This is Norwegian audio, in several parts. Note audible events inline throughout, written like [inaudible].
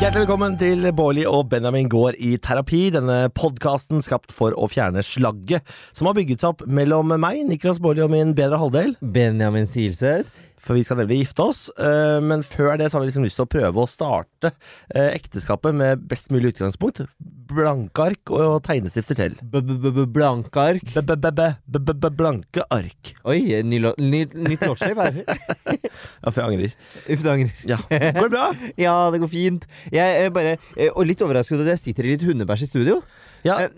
Hjertelig velkommen til Bårli og Benjamin går i terapi. Denne podkasten skapt for å fjerne slagget som har bygget seg opp mellom meg, Niklas Bårli og min bedre halvdel. Benjamin Silseth. For vi skal nemlig gifte oss. Eh, Men før det så har vi liksom lyst til å prøve å starte eh, ekteskapet med best mulig utgangspunkt. Blanke ark og tegnestifter til. Blanke ark. B-b-b-b-blanke ark. Oi, ny lå- ny, nytt [laughs] låtskjev her. Ja, for jeg angrer. Uff, det angrer. [laughs] Ja. Går det bra? Ja, det går fint. Jeg er bare eh, Og litt overrasket at jeg sitter i litt hundebæsj i studio. Ja. [laughs]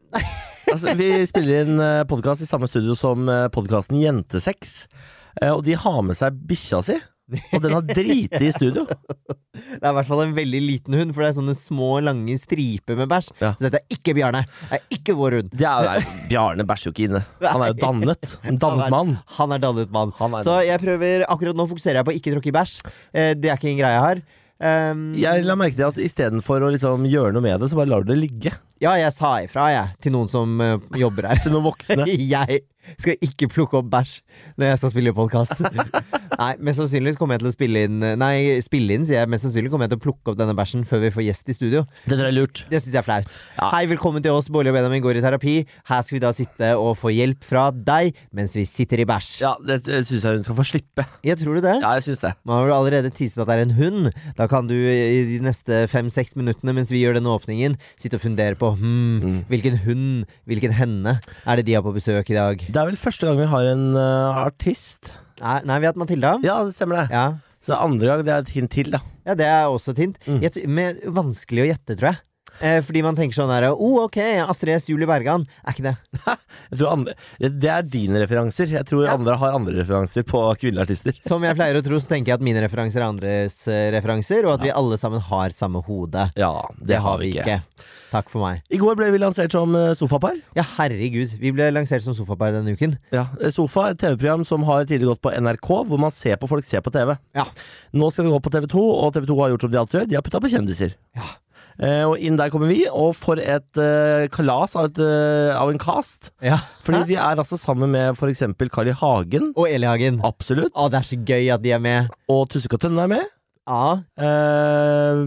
Altså, vi spiller inn podkast i samme studio som podkasten Jentesex. eh, Og de har med seg bikkja si. Og den har driti i studio. Det er i hvert fall en veldig liten hund, for det er sånne små, lange striper med bæsj. Ja. Så dette er ikke Bjarne. Det er ikke vår hund. Det er, nei, Bjarne bæsjer jo ikke inne. Han er jo dannet. En dannet mann. Han er dannet mann. Han er- Så jeg prøver Akkurat nå fokuserer jeg på ikke tråkke i bæsj. Eh, det er ikke en greie jeg har. Um, Jeg la merke til at istedenfor å liksom gjøre noe med det, så bare lar du det ligge. Ja, jeg sa ifra, jeg, til noen som eh, jobber her. Til noen voksne. [laughs] Jeg skal ikke plukke opp bæsj når jeg skal spille podkast. [laughs] Nei, mest sannsynlig så kommer jeg til å spille inn Nei, spille inn, sier jeg. Mest sannsynlig kommer jeg til å plukke opp denne bæsjen før vi får gjest i studio. [laughs] Det tror jeg er lurt. Det syns jeg er flaut. Ja. Hei, velkommen til oss. Bårli og Benjamin går i terapi. Her skal vi da sitte og få hjelp fra deg mens vi sitter i bæsj. Ja, det syns jeg hun skal få slippe. Ja, tror du det? Ja, jeg syns det. Nå har du allerede teaset at det er en hund. Da kan du i de neste fem-seks minuttene mens vi gjør denne åpningen, sitte og fundere på hmm, Mm. hvilken hund, hvilken henne, er det de har på besøk i dag? Det er vel første gang vi har en eh, artist. Nei, nei vi har hatt Matilda. Ja, det stemmer det. Ja. Så andre gang, det er et hint til, da. ja, det er også et hint. Mm. Jeg t- men vanskelig å gjette, tror jeg. Eh, fordi man tenker sånn her oh, ok, Astrid S. Julie Bergan. Er ikke det? Jeg tror andre, det er dine referanser. Jeg tror Ja. andre har andre referanser på kvinnelige artister. Som jeg pleier å tro, så tenker jeg at mine referanser er andres eh, referanser, og at vi alle sammen har samme hode. Ja, det, har vi ikke. Takk for meg. I går ble vi lansert som eh, sofapar. Ja, herregud. Vi ble lansert som sofapar denne uken. Ja, Eh, Sofa er et TV-program som har tidligere gått på NRK, hvor man ser på folk ser på TV. Ja. Nå skal det gå på TV2, og TV2 har gjort som de alltid gjør. De har putta på kjendiser. Ja. Eh, og inn der kommer vi, og for et eh, kalas av, et, eh, av en cast. Ja. Fordi vi er altså sammen med f.eks. Carl I. Hagen. Og Elihagen. Å, Absolutt. det er så gøy at de er med. Og Tusseka Tønne er med. A. Eh,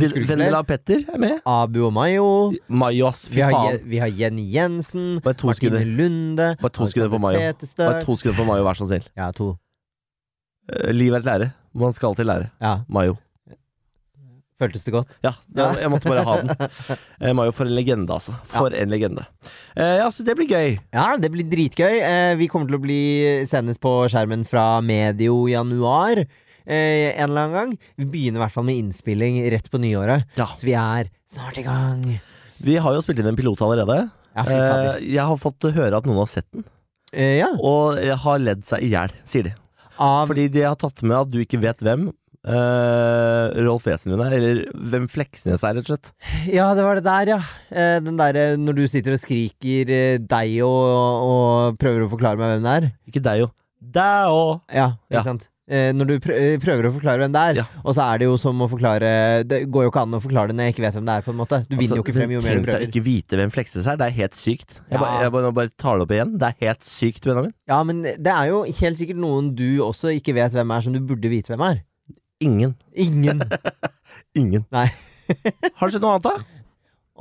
Husker du ikke Vendela Petter er med. Abu og Mayo. Mayo, ass. Fy Vi har, Je faen. vi har Jenny Jensen. Bare to Martine sekunder. Lunde. Bare to sekunder på Alexander Mayo. Setestø. Bare to sekunder på Mayo, vær så snill. Ja, to. Eh, Liv er et lære. Man skal alltid lære. Ja, Mayo. Føltes det godt? Ja, jeg, jeg måtte bare ha [laughs] den. Eh, Mayo, for en legende, altså. For en legende. Eh, ja, så det blir gøy. Ja, det blir dritgøy. Eh, vi kommer til å bli sendes på skjermen fra medio januar. Eh, en eller annen gang. Vi begynner i hvert fall med innspilling rett på nyåret. Ja. Så vi er snart i gang. Vi har jo spilt inn en pilot allerede. Ja, fy fader. Eh, jeg har fått høre at noen har sett den, Eh, ja. og jeg har ledd seg i hjel, sier de. Av Fordi de har tatt med at du ikke vet hvem eh, Rolf Wesenlund er, eller hvem Fleksnes er, rett og slett. Ja, det var det der, ja. Eh, Den derre når du sitter og skriker eh, deg og, og prøver å forklare meg hvem det er. Ikke deg, jo. Deg òg! Ja, ikke Ja. sant? Eh, Når du prø- eh, prøver å forklare hvem det er, Ja. og så er det jo som å forklare Det går jo ikke an å forklare det når jeg ikke vet hvem det er, på en måte. Altså, Du vinner jo ikke frem jo mer du Tenk deg prøver. ikke vite hvem Fleksnes er. Det er helt sykt. Jeg, Ja. bare, jeg bare, nå bare tar det opp igjen. Det er helt sykt, Benjamin. Ja, men det er jo helt sikkert noen du også ikke vet hvem er, som du burde vite hvem er. Ingen. Ingen. Ingen. Nei. [laughs] Har det skjedd noe annet, da?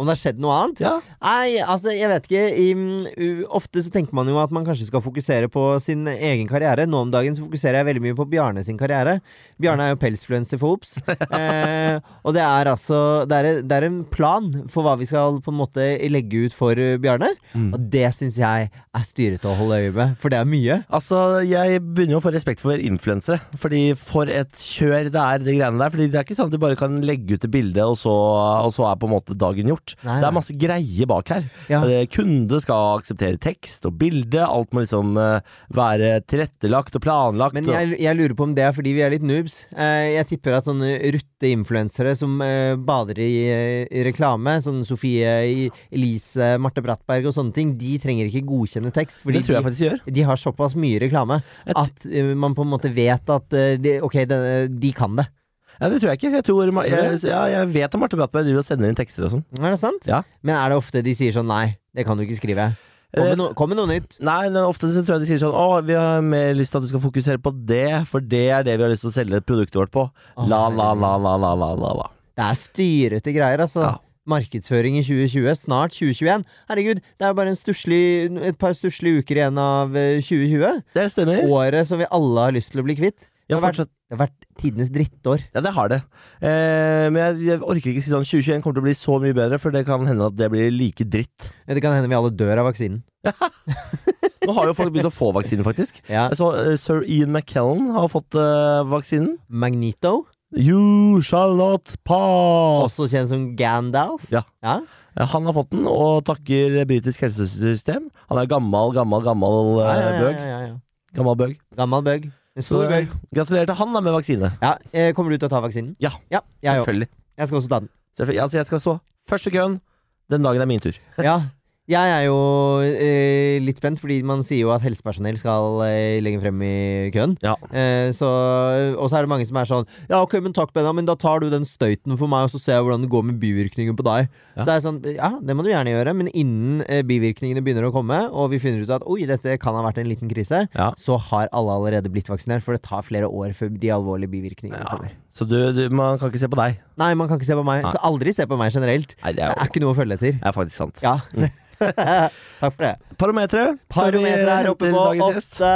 Om det har skjedd noe annet? Ja. Nei, altså, jeg vet ikke. I, mm, u- ofte så tenker man jo at man kanskje skal fokusere på sin egen karriere. Nå om dagen så fokuserer jeg veldig mye på Bjarne sin karriere. Bjarne er jo pelsfluencer for Ops. Eh, og det er altså det er, det er en plan for hva vi skal på en måte legge ut for eh, Bjarne. Og det syns jeg er styrete å holde øye med, for det er mye. Altså, Jeg begynner jo å få respekt for influensere. Fordi For et kjør det er, de greiene der. Fordi Det er ikke sånn at du bare kan legge ut et bilde, og så, og så er på en måte dagen gjort. Nei, det nei. er masse greie bak her. Ja. Eh, Kunde skal akseptere tekst og bilde. Alt må liksom eh, være tilrettelagt og planlagt. Men og- jeg, jeg lurer på om det er fordi vi er litt noobs. Eh, jeg tipper at sånne rutte influensere som eh, bader i, eh, i reklame, sånn Sofie I- Elise, Marte Brattberg og sånne ting, de trenger ikke godkjenne tekst. Fordi det tror jeg de, faktisk gjør. de har såpass mye reklame Jeg t- at eh, man på en måte vet at eh, de, Ok, de, de kan det. Ja, det tror jeg ikke. Jeg, tror, Ma- Tror du jeg, ja, jeg vet at Marte Brattberg driver og sender inn tekster og sånn. Er det sant? Ja. Men er det ofte de sier sånn Nei, det kan du ikke skrive. Kom Eh, med, no, kom med noe nytt. Nei, men ofte så tror jeg de sier sånn Å, vi har mer lyst til at du skal fokusere på det, for det er det vi har lyst til å selge produktet vårt på. Å, La, la, la, la, la, la, la, la. Det Det er styrete greier, altså. Ja. Markedsføring i 2020, snart 2021. Herregud, det er bare en stusslig, et par stusslige uker igjen av eh, 2020. Det stemmer. Året som vi alle har lyst til å bli kvitt. Ja, har vært- fortsatt. Det har vært tidenes drittår. Ja, det har det. Eh, men jeg, jeg orker ikke si sånn 2021 kommer til å bli så mye bedre, for det kan hende at det blir like dritt. Det kan hende vi alle dør av vaksinen. Nå har jo folk begynt å få vaksinen, faktisk. Ja. Jeg så eh, sir Ian McKellen har fått eh, vaksinen. Magneto, You shall not pass. også kjent som Gandalf. Ja. Eh, Han har fått den, og takker britisk helsesystem. Han er gammel, gammel, gammel eh, Ja, ja, ja, bøg. ja, ja. Gammel bøg. Gammel bøg. En Så stor eh, bøg. gratulerer til han da med vaksine. Ja, eh, kommer du til å ta vaksinen? Ja. ja jeg, òg. Selvfølgelig. jeg skal også ta den. Selvfølgelig. Altså, jeg skal stå først i køen. Den dagen er min tur. Ja, jeg er jo eh, litt spent, fordi man sier jo at helsepersonell skal eh, legge frem i køen. Ja. Eh, så, og så er det mange som er sånn Ja, ok, men takk, Benjamin, da tar du den støyten for meg, og så ser jeg hvordan det går med bivirkninger på deg. Ja. Så er jeg sånn Ja, det må du gjerne gjøre, men innen eh, bivirkningene begynner å komme, og vi finner ut at oi, dette kan ha vært en liten krise, Ja. så har alle allerede blitt vaksinert, for det tar flere år før de alvorlige bivirkningene Ja. kommer. Så du, du, man kan ikke se på deg. Nei, man kan ikke se på meg. Nei. Så aldri se på meg generelt. Nei, det Det er jo er ikke noe å følge etter. det er faktisk sant. Ja. [laughs] Takk for det. Parometeret. Parometer er oppe på åtte.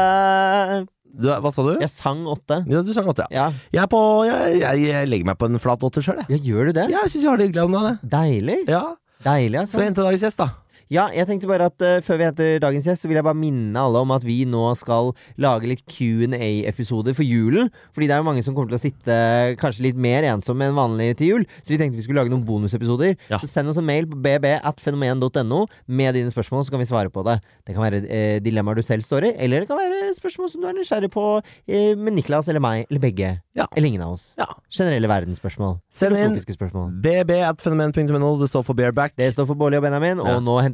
Du, er- hva sa du? Jeg sang åtte. Ja, du sang godt, ja. Ja. Jeg, er på, jeg, jeg, jeg legger meg på en flat åtter sjøl, jeg. ja, gjør du det? Jeg syns jeg har det hyggelig om dagen. jeg. Deilig. Ja. Deilig, Så altså. hente dagens gjest, da. Ja, jeg tenkte bare at eh, Før vi henter dagens gjest, Så vil jeg bare minne alle om at vi nå skal lage litt Q&A-episoder for julen. Fordi det er jo mange som kommer til å sitte eh, kanskje litt mer ensomme enn vanlig til jul. Så vi tenkte vi skulle lage noen bonusepisoder. Ja. Så send oss en mail på bb.fenomen.no med dine spørsmål, så kan vi svare på det. Det kan være eh, dilemmaer du selv står i, eller det kan være spørsmål som du er nysgjerrig på eh, med Niklas eller meg, eller begge. Ja. Eller ingen av oss. Ja. Generelle verdensspørsmål. Send inn Filosofiske spørsmål. bb.fenomen.no. Det står for bareback. Det står for Bårli og Benjamin, og Ja. nå henter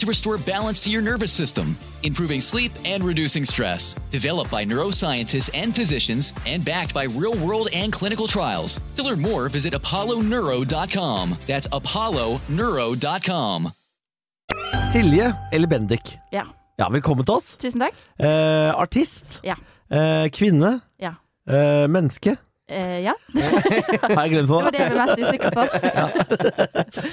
to restore balance to your nervous system, improving sleep and reducing stress. Developed by neuroscientists and physicians and backed by real world and clinical trials. To learn more, visit apolloneuro.com. That's apolloneuro.com. Silje eller Bendik? Ja. Ja, velkommen til oss. Tusen takk. Eh, artist. Ja. Eh, kvinne. Ja. Eh, menneske. Eh, ja, Har jeg glemt [laughs] det noe? var det jeg ble mest usikker på.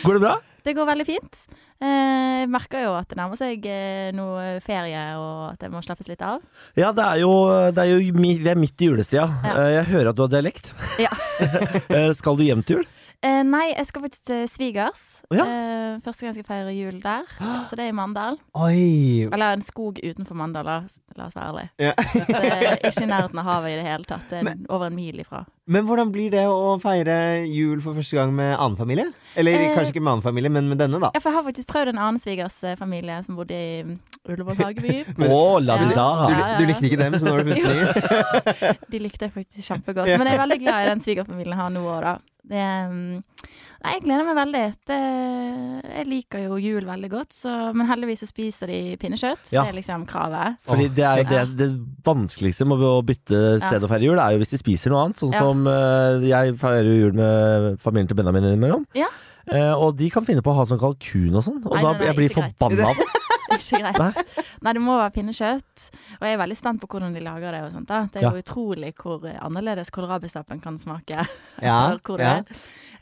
Går det bra? Det går veldig fint. Eh, jeg merker jo at det nærmer seg eh, noe ferie, og at jeg må slappes litt av. Ja, det er jo, det er jo mi- vi er midt i julestria. Ja. Eh, Jeg hører at du har dialekt. Ja. Eh, Skal du hjem til jul? [laughs] Eh, nei, jeg skal faktisk til svigers. Å ja. Eh, første gang jeg skal feire jul der, så det er i Mandal. Oi! Eller en skog utenfor Mandal, la, oss- la oss være ærlige. [laughs] Ja. Det er ikke i nærheten av havet i det hele tatt. Det er en- over en mil ifra. Men hvordan blir det å feire jul for første gang med annen familie? Eller Eh, kanskje ikke med annen familie, men med denne, da. Ja, for jeg har faktisk prøvd en annen svigersfamilie som bodde i mm, Ullevål hageby. Å, la vi Du, da! Ja, ja, du ja. likte ikke dem, så nå har du funnet [laughs] en ny? De likte jeg faktisk [laughs] kjempegodt. Men jeg er veldig glad i den svigerfamilien jeg har nå òg, da. Det, um, nei, jeg gleder meg veldig. Det, jeg liker jo jul veldig godt, så, men heldigvis så spiser de pinnekjøtt. Ja. Det er liksom kravet. [laughs] Fordi det er jo det, Ja. det vanskeligste med å bytte sted å feire jul, er jo hvis de spiser noe annet. Sånn Ja. som eh, jeg feirer jo jul med familien til Benjamin innimellom. Ja. Eh, og de kan finne på å ha sånn kalkun og sånn, og Nei, da nei, nei, jeg blir ikke greit. forbanna [laughs] av det. Ikke greit. Nei. det må være pinnekjøtt. Og jeg er veldig spent på hvordan de lager det. og sånt da. Det er Ja. jo utrolig hvor eh, annerledes kålrabistappen kan smake. Ja, [laughs] eller hvor det ja. er.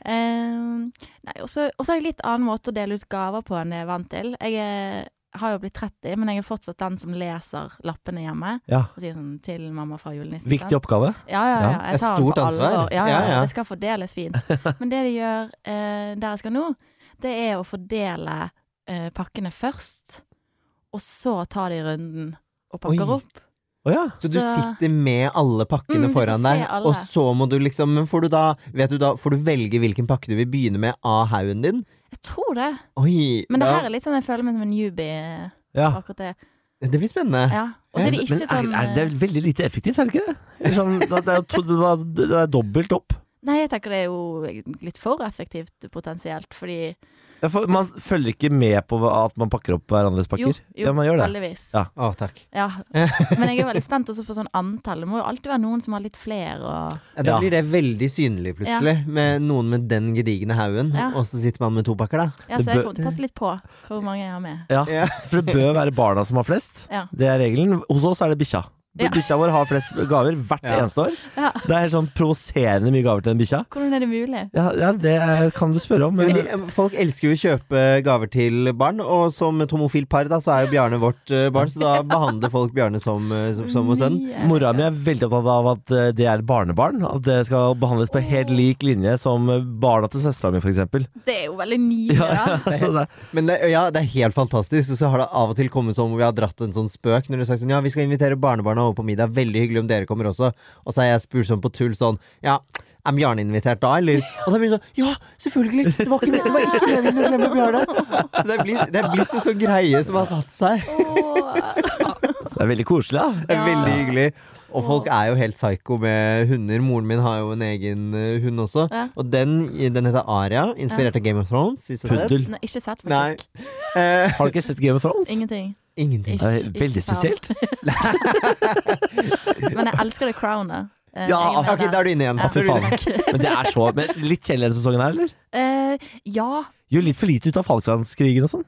Ehm, nei, og så og så er det litt annen måte å dele ut gaver på enn jeg er vant til. Jeg er, har jo blitt 30, men jeg er fortsatt den som leser lappene hjemme. Ja. Og sier sånn til mamma fra julenissen. Viktig oppgave. Ja, ja, ja. Ja, Jeg det er tar den stort på ansvar. alvor. Ja, ja, Ja, ja. Det skal fordeles [laughs] fint. Men det de gjør eh, der jeg skal nå, det er å fordele eh, pakkene først, og så tar de runden og pakker Oi. opp. Å ja. Så du Så- sitter med alle pakkene Mm, du får foran se deg, alle. og så må du liksom Men får du da, vet du da, får du velge hvilken pakke du vil begynne med av haugen din? Jeg tror det. Oi! Men det da- her er litt sånn jeg føler meg som en newbie. eh, ja. akkurat det. det blir spennende. Ja. Og så Eh, er det Men ikke sånn er, er det veldig lite effektivt, er det ikke det? Eller Sånn, det, er, jo to- det er- det er dobbelt opp. Nei, jeg tenker det er jo litt for effektivt potensielt, fordi Ja, for man følger ikke med på hva- at man pakker opp hverandres Jo, pakker? jo ja, man gjør det. heldigvis. Ja. Å, takk. Ja. Men jeg er veldig spent også for sånn antall. Det må jo alltid være noen som har litt flere og Ja, da Ja. blir det veldig synlig plutselig, med noen med den gedigne haugen, Ja. og så sitter man med to pakker, da. Ja, Det så jeg bø- kommer til å passe litt på hvor mange jeg har med. Ja. Ja. For det bør være barna som har flest. Ja. Det er regelen. Hos oss er det bikkja. Ja. Bikkja vår har flest gaver hvert Ja. eneste år. Ja. Det er helt sånn provoserende mye gaver til den bikkja. Hvordan er det mulig? Ja, ja, det er- kan du spørre om. Men, Men de, folk elsker jo å kjøpe gaver til barn, og som et homofilt par, da, så er jo Bjarne vårt eh, barn, så da behandler folk Bjarne som, eh, som, som vår sønn. Mye. Mora mi er veldig opptatt av at eh, det er barnebarn. At det skal behandles på helt lik linje som barna til søstera mi, f.eks. Det er jo veldig [laughs] nydelig, da. Men det, ja, det er helt fantastisk. Og så har det av og til kommet sånn hvor vi har dratt en sånn spøk når de har sagt sånn Ja, vi skal invitere barnebarna over på middag, veldig hyggelig om dere kommer også. Og så har jeg spurt sånn på tull sånn Ja, er Bjarne invitert da, eller? Og da blir det sånn Ja, selvfølgelig! Det var ikke, det var ikke meningen å glemme Bjarne! Så det er blitt, det er blitt en sånn greie som har satt seg. Åh. Det er veldig koselig, da. Det er veldig hyggelig. Og Åh. folk er jo helt psyko med hunder. Moren min har jo en egen eh, hund også. Ja. Og den, den heter Aria, inspirert av Game of Thrones. Hvis du har sett. Puddel. Nei, ikke sett, Nei. faktisk. [laughs] Eh, Har du ikke sett Game of Thrones? Ingenting. ingenting. Det er veldig Ikke sant. [laughs] Men jeg elsker det crownet. Eh, Ja, jeg er med Ok, da der. er du inne igjen. Ja. Fy faen. Men det er så men Litt kjedelig denne sesongen her, eller? [laughs] Eh, ja, Gjør litt for lite ut av Falklandskrigen og sånn.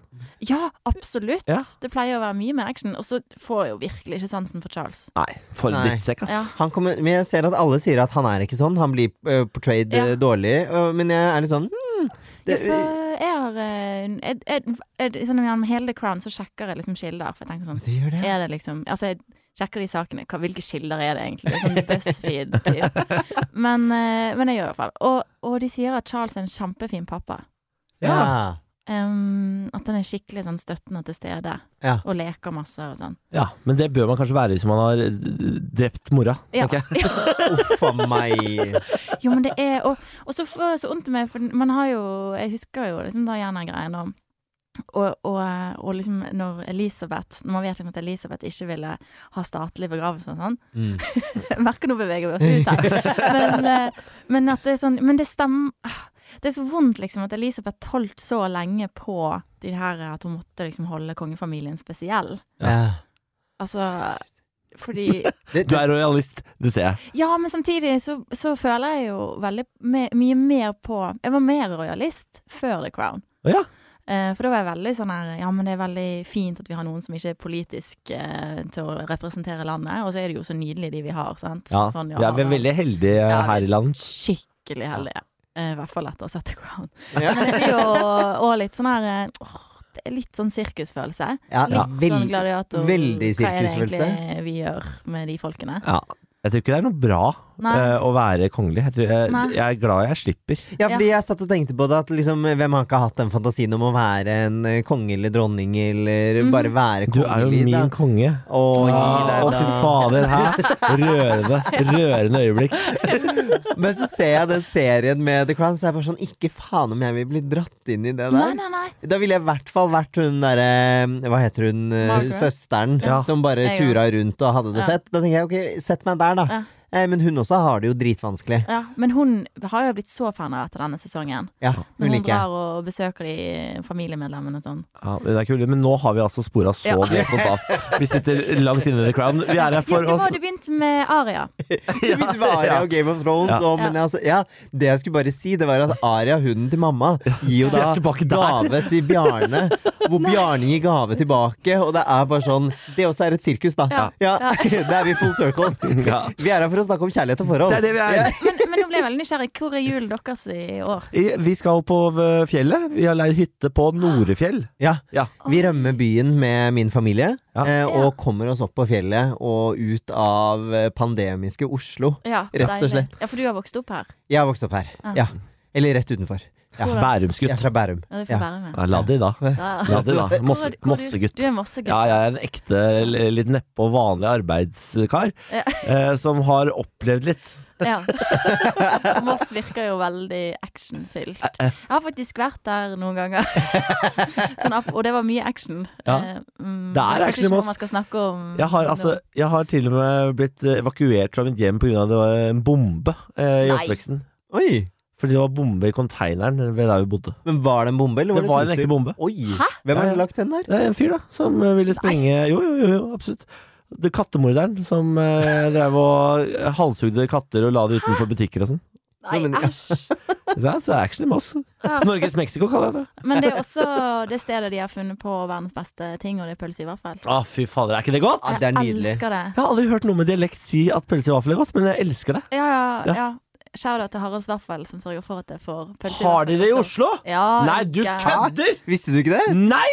ja, absolutt. Ja. Det pleier å være mye mer action. Og så får jeg jo virkelig ikke sansen for Charles. Nei, for en Nei. drittsekk, ass. Ja. Han kommer, men jeg ser at alle sier at han er ikke sånn. Han blir eh, portrayed eh, Ja. dårlig. eh, men jeg er litt sånn hmm, det, ja, for jeg har eh, jeg, jeg, jeg, sånn Gjennom hele The Crown så sjekker jeg liksom kilder. For jeg tenker sånn Du gjør det? Er det liksom Altså, jeg sjekker de sakene. Hva, hvilke kilder er det egentlig? Sånn BuzzFeed-typ. Men, eh, men jeg gjør i hvert fall. Og, og de sier at Charles er en kjempefin pappa. Ja. Em, at han er skikkelig sånn støttende til stede. Ja. Og leker masse og sånn. Ja, men det bør man kanskje være hvis man har eh, drept mora. Ja. tenker jeg. [laughs] Uff a meg. Jo, men det er Og, og så får jeg så vondt i meg, for man har jo Jeg husker jo liksom da Jenna-greien om og, og, og liksom når Elisabeth Når man vet liksom at Elisabeth ikke ville ha statlig begravelse og sånn Mm. [laughs] Jeg merker nå beveger vi oss ut her. Men, eh, men at det er sånn Men det stemmer ah, Det er så vondt liksom at Elisabeth holdt så lenge på de her eh, at hun måtte liksom holde kongefamilien spesiell. Ja. Altså fordi Det, Du det, er rojalist, det ser jeg. Ja, men samtidig så, så føler jeg jo veldig me mye mer på Jeg var mer rojalist før The Crown. Å ja. Eh, for da var jeg veldig sånn her Ja, men det er veldig fint at vi har noen som ikke er politisk eh, til å representere landet, og så er det jo så nydelig de vi har, sant. Ja. Sånn, ja, vi er veldig heldige eh, Ja, her i land. Skikkelig heldige. Eh, I hvert fall etter å ha sett The Crown. Ja. Men det blir jo og litt sånn her eh, åh, det er litt sånn sirkusfølelse. ja, Litt sånn vel- gladiator. veldig Hva er det sirkusfølelse. egentlig vi gjør med de folkene? Ja. Jeg tror ikke det er noe bra Nei. eh, å være kongelig. Jeg, tror, jeg, Nei. jeg er glad jeg slipper. Ja, fordi jeg satt og tenkte på det at liksom, hvem har ikke hatt den fantasien om å være en eh, konge eller dronning, eller Mhm. bare være Du er jo kongelig? min konge. Å, gi Ah, Å, deg, fy da. fader. Hæ? [laughs] Rørende, rørende øyeblikk. Men så ser jeg den serien med The Crown, så er jeg bare sånn Ikke faen om jeg vil bli dratt inn i det der. Nei, nei, nei. Da ville jeg i hvert fall vært hun derre Hva heter hun? eh, Margaret? Søsteren Ja. som bare Jeg tura rundt og hadde det Ja. fett. Da tenker jeg ok, sett meg der, da. Ja. Eh, Men hun også har det jo dritvanskelig. Ja, men hun har jo blitt så fan av etter denne sesongen. Ja, Når hun hun liker jeg. drar og besøker de familiemedlemmene og sånn. Ja, det er kul, men nå har vi altså spora så Ja. voldsomt av. Vi sitter langt inne i the crown. Vi er her Ja, for altså- det oss. var du begynte med Aria. [laughs] Det mitt var Aria og Game of Thrones Ja. og, men Ja. altså, ja, Det jeg skulle bare si, det var at Aria, hunden til mamma, gir jo [laughs] Vi er da tilbake der. gave til Bjarne. Hvor Bjarne gir gave tilbake, og det er bare sånn Det også er et sirkus, da. Ja. Ja, [laughs] Ja. Da er vi full circle. [laughs] Ja. Vi er her for å snakke om kjærlighet og forhold. Det er det vi er. Men, men nå ble jeg veldig nysgjerrig. Hvor er julen deres i år? I- Vi skal på eh, fjellet. Vi har leid hytte på Norefjell. Ja. Ja. Vi rømmer byen med min familie Ja. eh, Ja. og kommer oss opp på fjellet og ut av eh, pandemiske Oslo. Ja, Rett og deilig. slett. Ja, for du har vokst opp her. Jeg har vokst opp her. Ja. Ja. Eller rett utenfor. Ja. Hvor da? Jeg Bærumsgutt. er fra Bærum. Ja, det får Ja. være med. Ja, la det i, da. Ja. La det i, da. Hvor Mosse, er- hvor er du- mossegutt. Du er mossegutt. Ja, jeg er en ekte, l- litt neppe og vanlig arbeidskar Ja. eh, som har opplevd litt. Ja. [laughs] Moss virker jo veldig actionfylt. Eh, Jeg har faktisk vært der [laughs] noen ganger. Sånn, opp- og det var mye action. Ja. Eh, mm, Det er kanskje action i ikke noe Moss. man skal snakke om Jeg har, nå. altså, jeg har til og med blitt eh, evakuert fra mitt hjem pga. en bombe eh, i Nei. oppveksten. Oi! Fordi det var bombe i konteineren ved der vi bodde. Men var det en bombe, eller var Det det, var en et ekte utstyr? bombe. Oi! Hæ? Hvem har Ja, ja. lagt den der? Det er en fyr da, som eh, ville sprenge Jo, jo, jo, jo absolutt. Det kattemorderen som eh, drev og halshugde katter og la det utenfor butikker og sånn. Nei, Nei, men- æsj. Så Det er så det er action i Moss. Ja. Norges Mexico, kaller jeg det. Men det er også det stedet de har funnet på verdens beste ting, og det er pølse i vaffel. Å, Ah, fy fader, er ikke det godt? [laughs] Ja, det er Jeg nydelig. elsker det. Jeg har aldri hørt noe med dialekt si at pølse i vaffel er godt, men jeg elsker det. Ja, Ja. ja, ja. Shout-out til Haralds Vaffel, som sørger for at jeg får pølse i vaffel. Har de det i Oslo? Ja, Nei, du ikke. kødder! Visste du ikke det? Nei!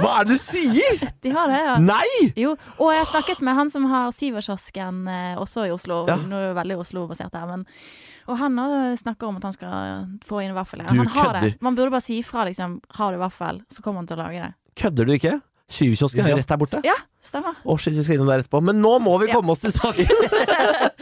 Hva er det du sier? De har det, ja. Nei! Jo, og jeg snakket med han som har Syverkiosken eh, også i Oslo. Ja. Nå er det veldig Oslo-basert her, men Og han også snakker om at han skal få inn vaffel her. Du Han har kødder. det. Man burde bare si ifra, liksom. Har du vaffel, så kommer han til å lage det. Kødder du ikke? Syvkiosken er jo rett der borte. Ja, stemmer. Å, shit, vi skal innom der etterpå. Men nå må vi Ja. komme oss til [laughs] saken. Mm.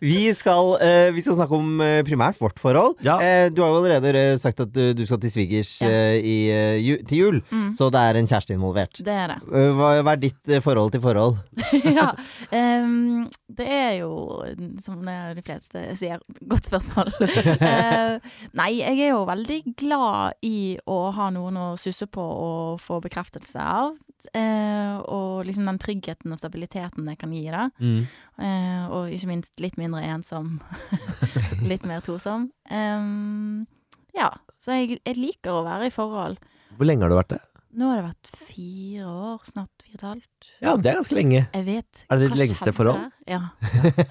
Vi skal, eh, vi skal snakke om eh, primært vårt forhold. Ja. Eh, du har jo allerede eh, sagt at eh, du skal til svigers Ja. eh, i, eh, ju, til jul, Mm. så det er en kjæreste involvert. Det er det. Eh, Hva, hva er ditt eh, forhold til forhold? [laughs] ja. em, det er jo, som det de fleste sier, godt [laughs] spørsmål. Eh, nei, jeg er jo veldig glad i å ha noen å susse på og få bekreftelse av. eh, og liksom den tryggheten og stabiliteten det kan gi, da. Mm. Eh, og ikke minst litt mindre ensom. [laughs] litt mer tosom. Em, ja, så jeg, jeg liker å være i forhold. Hvor lenge har du vært det? Nå har det vært fire år, snart fire og et halvt. Ja, det er ganske lenge. Jeg vet. Er det ditt Hva lengste skjedde forhold? der? Ja.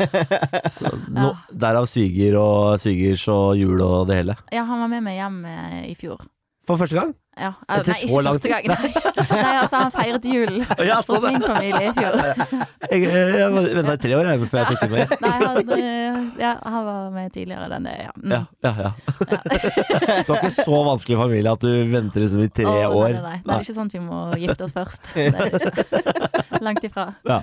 [laughs] Så nå, Ah. derav sviger og svigers og jul og det hele. Ja, han var med meg hjem eh, i fjor. For første gang? Ja. eh, Etter Nei, så ikke lang første [laughs] gang. Nei. nei, altså han feiret jul Ja, sånn, hos min familie i [laughs] fjor. Jeg, jeg, jeg venta i tre år jeg, før jeg tok det med. Nei, han, eh, ja, han var med tidligere den det, ja. Mm. Ja, ja, ja. [laughs] Du har ikke så vanskelig familie at du venter liksom i tre Å, år. Nei, nei, nei. Det er jo ikke sånn at vi må [laughs] gifte oss først. Det er det ikke. [laughs] Langt ifra. Ja.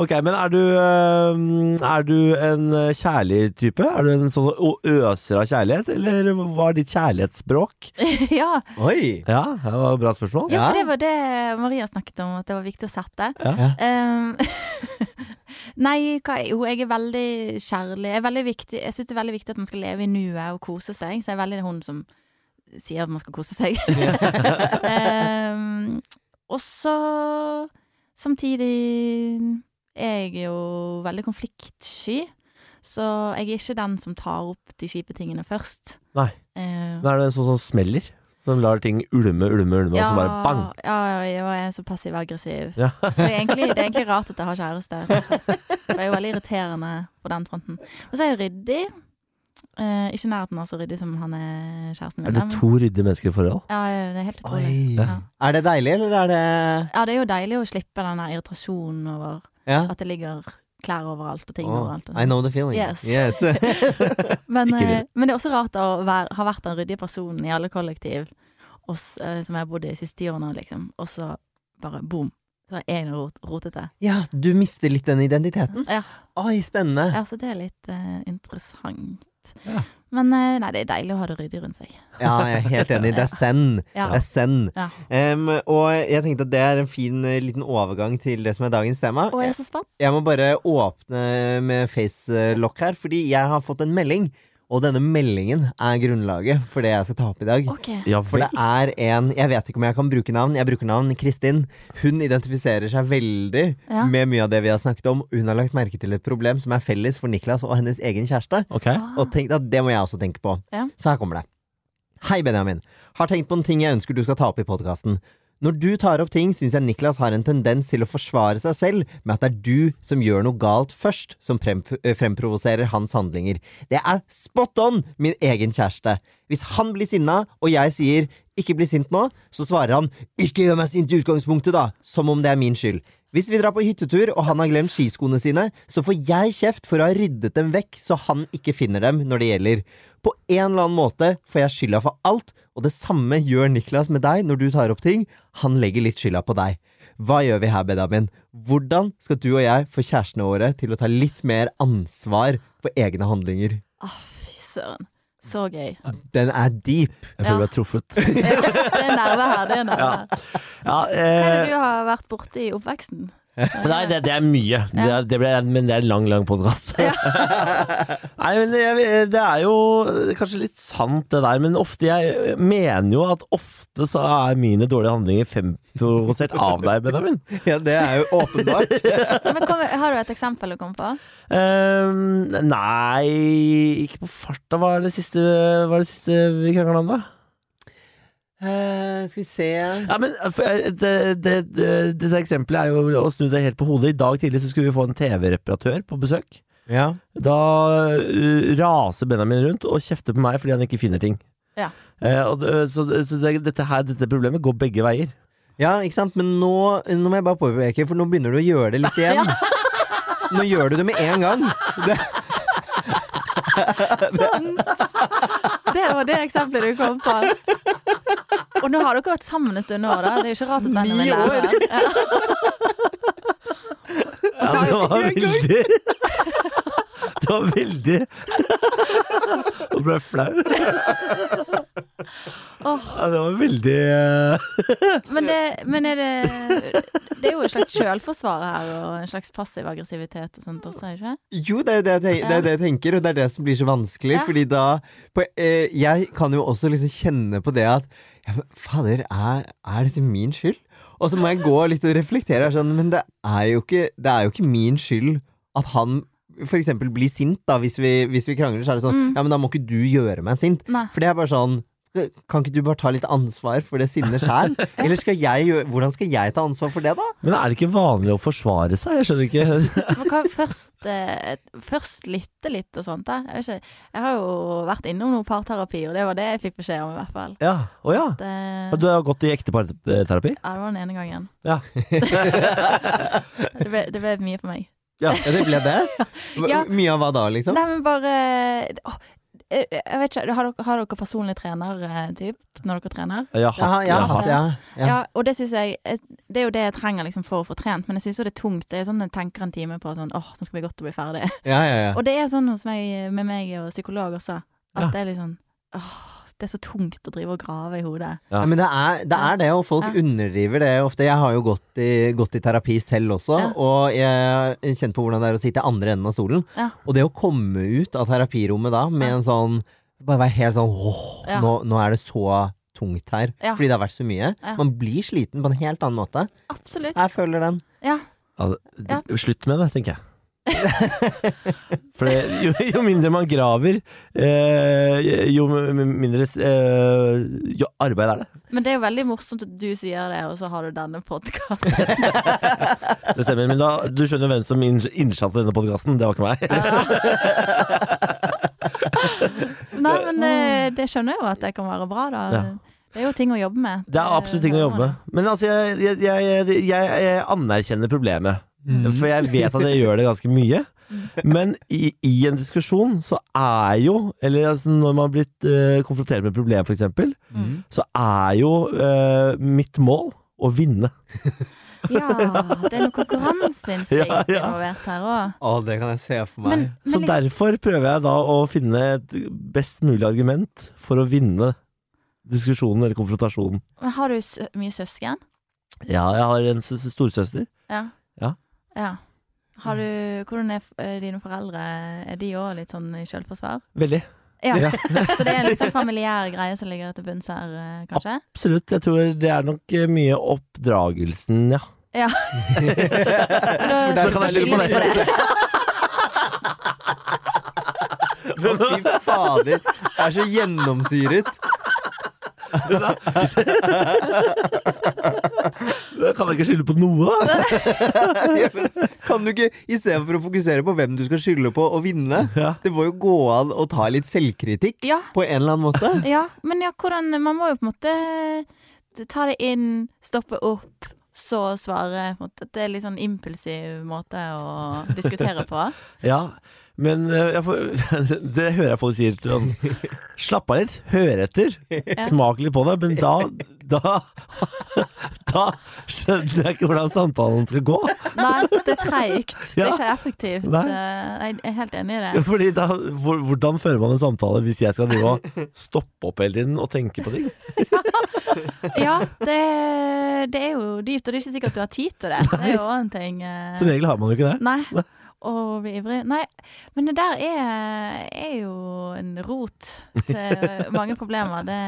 Ok, men er du, eh, er du en kjærlig type? Er du en sånn som øser av kjærlighet, eller hva er ditt kjærlighetsspråk? Ja, Oi! Ja, det var et bra spørsmål. ja, Ja. for det var det Maria snakket om, at det var viktig å sette. Ja. Um, [laughs] nei, hva, jo, jeg er veldig kjærlig. Jeg, er veldig viktig, jeg syns det er veldig viktig at man skal leve i nuet og kose seg. Så jeg er veldig hun som sier at man skal kose seg. [laughs] um, og så samtidig er jeg jo veldig konfliktsky. Så jeg er ikke den som tar opp de kjipe tingene først. Nei. Eh, Men er du en sånn som smeller? Som lar ting ulme, ulme, ulme, og så bare bang? ja, ja, og jeg er så passiv-aggressiv. Ja. Så egentlig, det er egentlig rart at jeg har kjæreste. sånn sett. Det er jo veldig irriterende på den fronten. Og så er jeg ryddig. Eh, ikke i nærheten av så ryddig som han er kjæresten min. Er det men- to ryddige mennesker i forhold? Ja, ja, det er helt utrolig. Oi. Ja. Er det deilig, eller er det ja, det er jo deilig å slippe den der irritasjonen over ja. at det ligger klær overalt og ting Åh, overalt. Og I sånn. know the feeling. Yes. [laughs] Yes. [laughs] men, Ikke eh, ryddig. men det er også rart å være, ha vært den ryddige personen i alle kollektiv og s- eh, som jeg har bodd i de siste ti årene, liksom. Og så bare boom, så er jeg rot, rotete. ja, du mister litt den identiteten. Ja. Oi, spennende. Mm. Ja, så det er litt eh, interessant. Ja. Men eh, nei, det er deilig å ha det ryddig rundt seg. Ja, jeg er helt enig. Det er send. Ja. Det er send. Ja. Em, og jeg tenkte at det er en fin eh, liten overgang til det som er dagens tema. Og jeg er så spent. Jeg må bare åpne med facelock her, fordi jeg har fått en melding. Og denne meldingen er grunnlaget for det jeg skal ta opp i dag. Ok. Ja For vel. det er en Jeg vet ikke om jeg kan bruke navn. Jeg bruker navn Kristin. Hun identifiserer seg veldig Ja. med mye av det vi har snakket om. Hun har lagt merke til et problem som er felles for Niklas og hennes egen kjæreste. Ok. Ah, Og tenkte at det må jeg også tenke på. Ja. Så her kommer det. Hei, Benjamin. Har tenkt på en ting jeg ønsker du skal ta opp i podkasten. Når du tar opp ting, syns jeg Niklas har en tendens til å forsvare seg selv med at det er du som gjør noe galt først, som frem, eh, fremprovoserer hans handlinger. Det er spot on min egen kjæreste. Hvis han blir sinna, og jeg sier 'ikke bli sint nå', så svarer han 'ikke gjør meg sint i utgangspunktet', da, som om det er min skyld. Hvis vi drar på hyttetur og han har glemt skiskoene sine, så får jeg kjeft for å ha ryddet dem vekk så han ikke finner dem når det gjelder. På en eller annen måte får jeg skylda for alt, og det samme gjør Niklas med deg når du tar opp ting. Han legger litt skylda på deg. Hva gjør vi her, Benjamin? Hvordan skal du og jeg få kjærestene våre til å ta litt mer ansvar for egne handlinger? ah, fy søren. Så gøy. Den er deep. Jeg føler Ja. vi er [laughs] truffet. Det er nerver her. det er nerver her. Ja, Hva er eh, det du har vært borte i oppveksten? Så, Nei, det, det er mye. Det er, det ble, men det er en lang, lang podkast. [laughs] Nei, men det, jeg- det er jo kanskje litt sant, det der. Men ofte jeg mener jo at ofte så er mine dårlige handlinger femprovosert av deg, Benjamin. Ja, det er jo åpenbart. Men kom, har du et eksempel å komme på? Ehm, nei, ikke på farta. Hva er det siste, hva er det siste vi krangla om, da? [laughs] Eh, skal vi se Ja, men for, eh, det, det, det, Dette eksempelet er jo å snu det helt på hodet. I dag tidlig så skulle vi få en TV-reparatør på besøk. Ja. Da eh, raser Benjamin rundt og kjefter på meg fordi han ikke finner ting. Ja. Eh, og, det- så så det, dette, her, dette problemet går begge veier. ja, ikke sant? Men nå, nå må jeg bare påpeke, for nå begynner du å gjøre det [laughs] litt igjen. Nå gjør du det med en gang. Det, Det var det eksempelet du kom på. Og nå har dere vært sammen en stund nå, da. Det er jo ikke rart at Benjamin Ni år. lærer. Ja. Ja, det var veldig [laughs] Det var veldig [laughs] Nå ble jeg flau. Åh. Ja, det var veldig eh, Men, det, men er det Det er jo et slags sjølforsvar her, og en slags passiv aggressivitet og sånt også, er det ikke? jo, det er jo det jeg, tenker, det er det jeg tenker, og det er det som blir så vanskelig. Ja. Fordi da på, eh, Jeg kan jo også liksom kjenne på det at ja, men Fader, er, er dette min skyld? Og så må jeg gå litt og reflektere. og Sånn, men det er, jo ikke, det er jo ikke min skyld at han for eksempel blir sint, da, hvis vi, hvis vi krangler. Så er det sånn Mm. Ja, men da må ikke du gjøre meg sint. Nei. For det er bare sånn kan ikke du bare ta litt ansvar for det sinnet [laughs] sjæl? Eller skal jeg gjøre, hvordan skal jeg ta ansvar for det, da? Men er det ikke vanlig å forsvare seg? Jeg skjønner ikke. Man kan først, eh, først lytte litt og sånt. Da. Jeg, vet ikke, jeg har jo vært innom noe parterapi, og det var det jeg fikk beskjed om, i hvert fall. Ja, Å ja. Det, Ja, Du har gått i eh, ekteparterapi? ja, det var den ene gangen. Ja. [laughs] Det ble, det ble mye for meg. Ja, det ble det. Ja. Mye av hva da, liksom? Nei, men bare åh, eh, Jeg vet ikke, har dere, har dere personlig trener eh, typ, når dere trener? Jeg har Jaha, hatt, ja, jeg har hatt. ja, Ja, ja. og det synes jeg eh, Det er jo det jeg trenger liksom for å få trent, men jeg syns jo det er tungt. Det er sånn jeg tenker en time på sånn åh, nå skal vi godt å bli ferdig. ja, ja, ja. Og det er sånn hos meg, med meg og psykolog også, at Ja. det er litt sånn åh, det er så tungt å drive og grave i hodet. Ja. Nei, Men det er, det er det, og folk Ja. underdriver det ofte. Jeg har jo gått i, gått i terapi selv også, Ja. og jeg kjent på hvordan det er å sitte i andre enden av stolen. Ja. Og det å komme ut av terapirommet da med Ja. en sånn Bare være helt sånn åh, Ja. nå, nå er det så tungt her. Ja. Fordi det har vært så mye. Ja. Man blir sliten på en helt annen måte. Absolutt. Jeg føler den. Ja. Ja, det- det- Slutt med det, tenker jeg. For det, jo, jo mindre man graver, eh, jo m- mindre eh, jo arbeid er det. Men det er jo veldig morsomt at du sier det, og så har du denne podkasten. [laughs] Det stemmer. Men da, du skjønner hvem som inns- innsatte denne podkasten. Det var ikke meg. Nei, men det, det skjønner jeg jo at det kan være bra, da. Ja. Det er jo ting å jobbe med. Det er absolutt ting å jobbe med. Men altså, jeg, jeg, jeg, jeg, jeg anerkjenner problemet. Mm. For jeg vet at jeg gjør det ganske mye. Men i, i en diskusjon så er jo Eller altså når man har blitt eh, konfrontert med et problem, f.eks., Mm. så er jo eh, mitt mål å vinne. Ja, det er noe konkurranseinstinkt [laughs] Ja, ja. involvert her òg. Å, det kan jeg se for meg. Men, Så men liksom, derfor prøver jeg da å finne et best mulig argument for å vinne diskusjonen eller konfrontasjonen. men liksom, har du sø mye søsken? Ja, jeg har en s- s- storesøster. Ja. Ja. Ja. Har du, hvordan er f- eh, dine foreldre? Er de òg litt sånn i selvforsvar? Veldig. Ja. [laughs] Så det er en litt sånn familiær greie som ligger til bunns her, eh, kanskje? Absolutt. Jeg tror det er nok eh, mye oppdragelsen, ja. Ja. For der kan jeg skylde på det. Å, fy fader. Det er så gjennomsyret. Jeg kan ikke skylde på noe. [laughs] Ja, men Kan du ikke, istedenfor å fokusere på hvem du skal skylde på og vinne, Ja. det må jo gå an å ta litt selvkritikk Ja, på en eller annen måte. ja, men ja, hvordan Man må jo på en måte eh, ta det inn, stoppe opp, så svare. på en måte. Det er litt sånn impulsiv måte å diskutere på. Ja, men eh, jeg får, [laughs] det hører jeg folk sier. Sånn. Slapp av litt, hør etter. Smak litt på det. Men da, da [laughs] Da skjønner jeg ikke hvordan samtalen skal gå. Nei, det er treigt. Det er Ja. ikke effektivt. Nei. Eh, Jeg er helt enig i det. Fordi da, hvor, Hvordan fører man en samtale hvis jeg skal drive og stoppe opp hele tiden og tenke på ting? Ja, det, det er jo dypt, og det er ikke sikkert du har tid [laughs] til det. Det er jo også en ting. eh, Som regel har man jo ikke det. [laughs] Nei. Å bli ivrig. Nei, men det der er, er jo en rot til mange problemer. Det,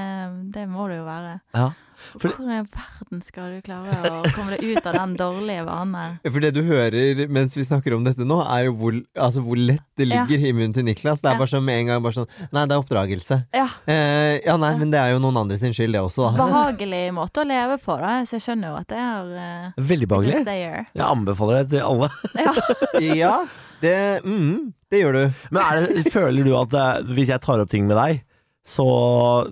det må det jo være. Ja. For- Hvordan i verden skal du klare å komme deg ut av den dårlige vanen her? For det du hører mens vi snakker om dette nå, er jo hvor, altså hvor lett det Ja. ligger i munnen til Niklas. Det er Ja. bare sånn med en gang bare sånn Nei, det er oppdragelse. Ja. Eh, ja, nei, men det er jo noen andre sin skyld, det også, Ah, da. Behagelig måte å leve på, da. Så jeg skjønner jo at det er eh, Veldig it can behagelig. stay here. Jeg anbefaler det til alle. Ja. Ja, det, mm, det gjør du. Men er det, føler du at eh, hvis jeg tar opp ting med deg, så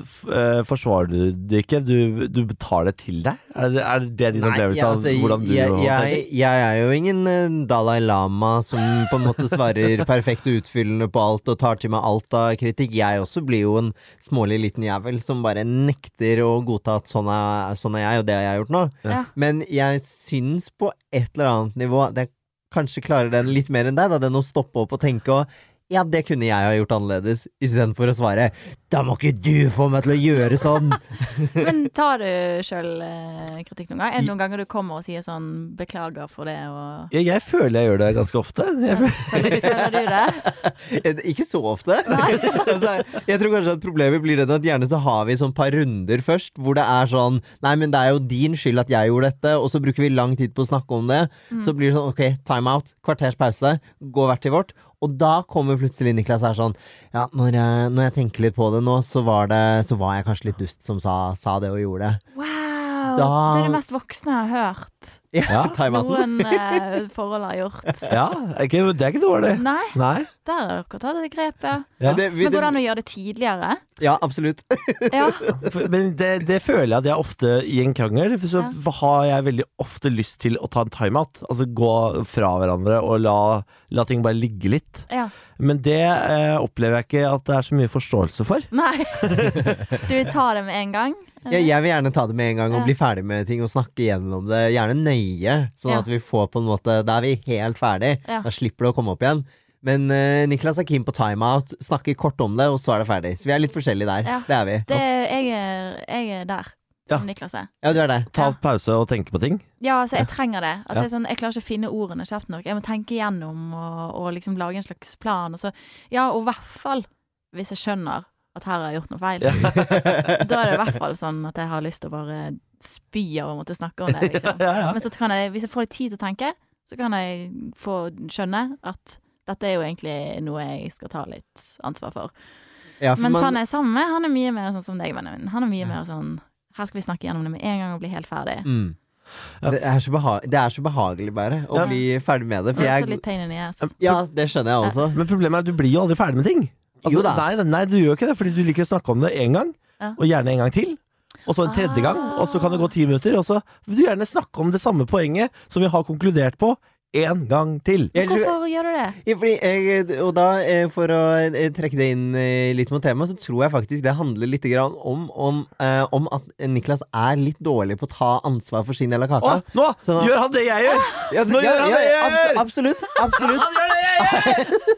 f- eh, forsvarer du det ikke? Du, du tar det til deg? Er det er det din opplevelse av altså, hvordan du jeg, tenker? jeg, jeg er jo ingen eh, Dalai Lama som på en måte svarer perfekt og utfyllende på alt og tar til meg alt av kritikk. Jeg også blir jo en smålig liten jævel som bare nekter å godta at sånn er, sånn er jeg, og det har jeg gjort nå. Ja. Men jeg syns på et eller annet nivå at jeg kanskje klarer den litt mer enn deg, da den å stoppe opp og tenke og ja, det kunne jeg ha gjort annerledes, istedenfor å svare 'da må ikke du få meg til å gjøre sånn'. Men tar du sjøl eh, kritikk noen gang? Er det noen ganger du kommer og sier sånn 'beklager for det', og Jeg, jeg føler jeg gjør det ganske ofte. Jeg føler, føler, føler du det? Eh, Ikke så ofte. [laughs] altså, jeg tror kanskje at problemet blir den at gjerne så har vi sånn par runder først, hvor det er sånn Nei, men det er jo din skyld at jeg gjorde dette, og så bruker vi lang tid på å snakke om det. Mm. Så blir det sånn OK, timeout, kvarters pause, gå hvert til vårt. Og da kommer plutselig Niklas her sånn Ja, når jeg, når jeg tenker litt på det nå, så var, det, så var jeg kanskje litt dust som sa, sa det og gjorde det. Wow! Da- Det er det mest voksne jeg har [laughs] hørt Ja, timeouten. noen eh, forhold har gjort. ja, er ikke, det er ikke dårlig. Nei, Nei. der har dere tatt et grep, ja. Ja. Det- vi- Men går det det- an å gjøre det tidligere? ja, absolutt. Ja. For- Men det, det føler jeg at jeg ofte i en krangel Så har jeg veldig ofte lyst til å ta en timeout. Altså gå fra hverandre og la, la ting bare ligge litt. ja. Men det eh, opplever jeg ikke at det er så mye forståelse for. [laughs] Nei. Du vil ta det med en gang? Ja, jeg vil gjerne ta det med en gang og Ja. bli ferdig med ting og snakke gjennom det. Gjerne nøye, sånn Ja. at vi får på en måte Da er vi helt ferdig. Ja. Da slipper det å komme opp igjen. Men eh, Niklas er keen på timeout, snakker kort om det, og så er det ferdig. Så vi er litt forskjellige der. Ja. Det er vi. Det, jeg, er, jeg er der, som Niklas er. Ja, du er det. Ta Ja. pause og tenke på ting. Ja, altså, jeg trenger det. At Ja. det er sånn, jeg klarer ikke å finne ordene kjapt nok. Jeg må tenke igjennom og, og liksom lage en slags plan. Og så, ja, og i hvert fall hvis jeg skjønner at her har jeg gjort noe feil. [laughs] da er det i hvert fall sånn at jeg har lyst til å bare spy av å måtte snakke om det. [laughs] Liksom. Ja, ja. Men så kan jeg, hvis jeg får litt tid til å tenke, så kan jeg få skjønne at dette er jo egentlig noe jeg skal ta litt ansvar for. Ja, for Mens man- han jeg sånn er sammen med, han er mye mer sånn som deg, Benjamin. Han er mye mer sånn her skal vi snakke gjennom det med en gang og bli helt ferdig. mm. det, er så beha det er så behagelig bare å Ja. bli ferdig med det. Og For også jeg, litt pain in the ass. ja, det skjønner jeg også. Men problemet er at du blir jo aldri ferdig med ting. Altså, Jo da. Nei, nei, du gjør ikke det, fordi du liker å snakke om det én gang, Ja. og gjerne en gang til. Og så en tredje gang, og så kan det gå ti minutter. Og så vil du gjerne snakke om det samme poenget som vi har konkludert på, én gang til. Jeg- Hvorfor gjør du [laughs] det? Ja, fordi, eh, og da, eh, for å eh, trekke det inn eh, litt mot temaet, så tror jeg faktisk det handler litt grann om, om, eh, om at Niklas er litt dårlig på å ta ansvar for sin del av Å, kaka. nå Så- gjør han det jeg gjør! Ja, nå gjør han det jeg gjør! abso- absolutt, [laughs] absolutt. Han gjør det jeg gjør!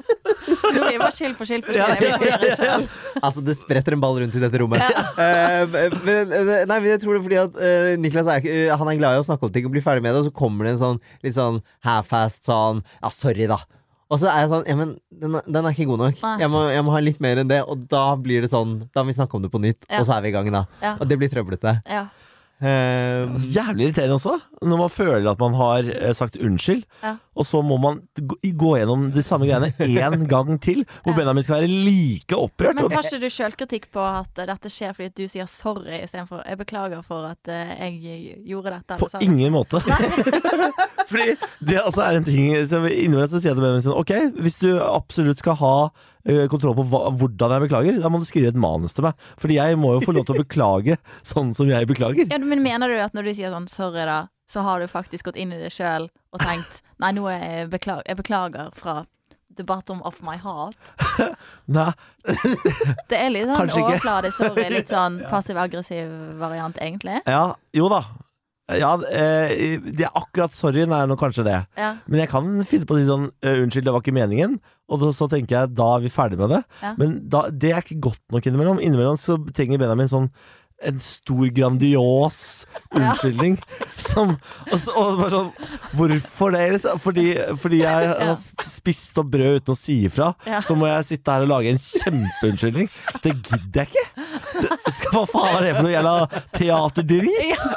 Nå blir det bare skyld for skyld for Ja, skyld. Jeg blir ja, forvirret ja, ja. selv. Altså, det spretter en ball rundt i dette rommet. Eh, men, eh, nei, men jeg tror det er fordi at eh, Niklas er, ikke- eh, han er glad i å snakke om ting og bli ferdig med det, og så kommer det en sånn litt sånn half-fast sånn Ja, sorry, da. Og så er jeg sånn Ja, men den, er- den er ikke god nok. Nei. Jeg må, jeg må ha litt mer enn det. Og da blir det sånn Da må vi snakke om det på nytt, Ja. og så er vi i gang, da. Ja. Og det blir trøblete. Ja. Eh, Så Jævlig irriterende også, når man føler at man har eh, sagt unnskyld, Ja. og så må man gå- gå gjennom de samme greiene én gang til, hvor Ja. Benjamin skal være like opprørt. Men og- tar ikke du sjølkritikk på at eh, dette skjer fordi at du sier sorry istedenfor 'jeg beklager for at eh, jeg gjorde dette'? På eller sånn? sa det"? ingen måte. [laughs] Fordi det altså er en ting som innimellom så sier jeg til Benjamin sånn Ok, hvis du absolutt skal ha eh, kontroll på hva, hvordan jeg beklager, da må du skrive et manus til meg. Fordi jeg må jo få lov til å beklage [laughs] sånn som jeg beklager. Ja, men mener du at når du sier sånn 'sorry', da, så har du faktisk gått inn i det sjøl og tenkt [laughs] 'nei, nå er jeg beklager, jeg beklager fra the bottom of my heart'? Nei, Det er litt sånn Kanskje ikke. overfladisk sorry, [laughs] litt sånn passiv-aggressiv variant, egentlig. ja, jo da. Ja, eh, det er akkurat sorryen er nå kanskje det. Ja. Men jeg kan finne på å si sånn eh, Unnskyld, det var ikke meningen. Og da, så tenker jeg da er vi ferdig med det. Ja. Men da, det er ikke godt nok innimellom. Innimellom så trenger Benjamin sånn en stor, [laughs] grandios unnskyldning. Som, og, så, og bare sånn Hvorfor det? Liksom? Fordi, fordi [laughs] jeg har spist opp brød uten å si ifra. Ja. Så må jeg sitte her og lage en kjempeunnskyldning. Det gidder jeg ikke! Det, skal, hva faen er det for noe jævla teaterdrit?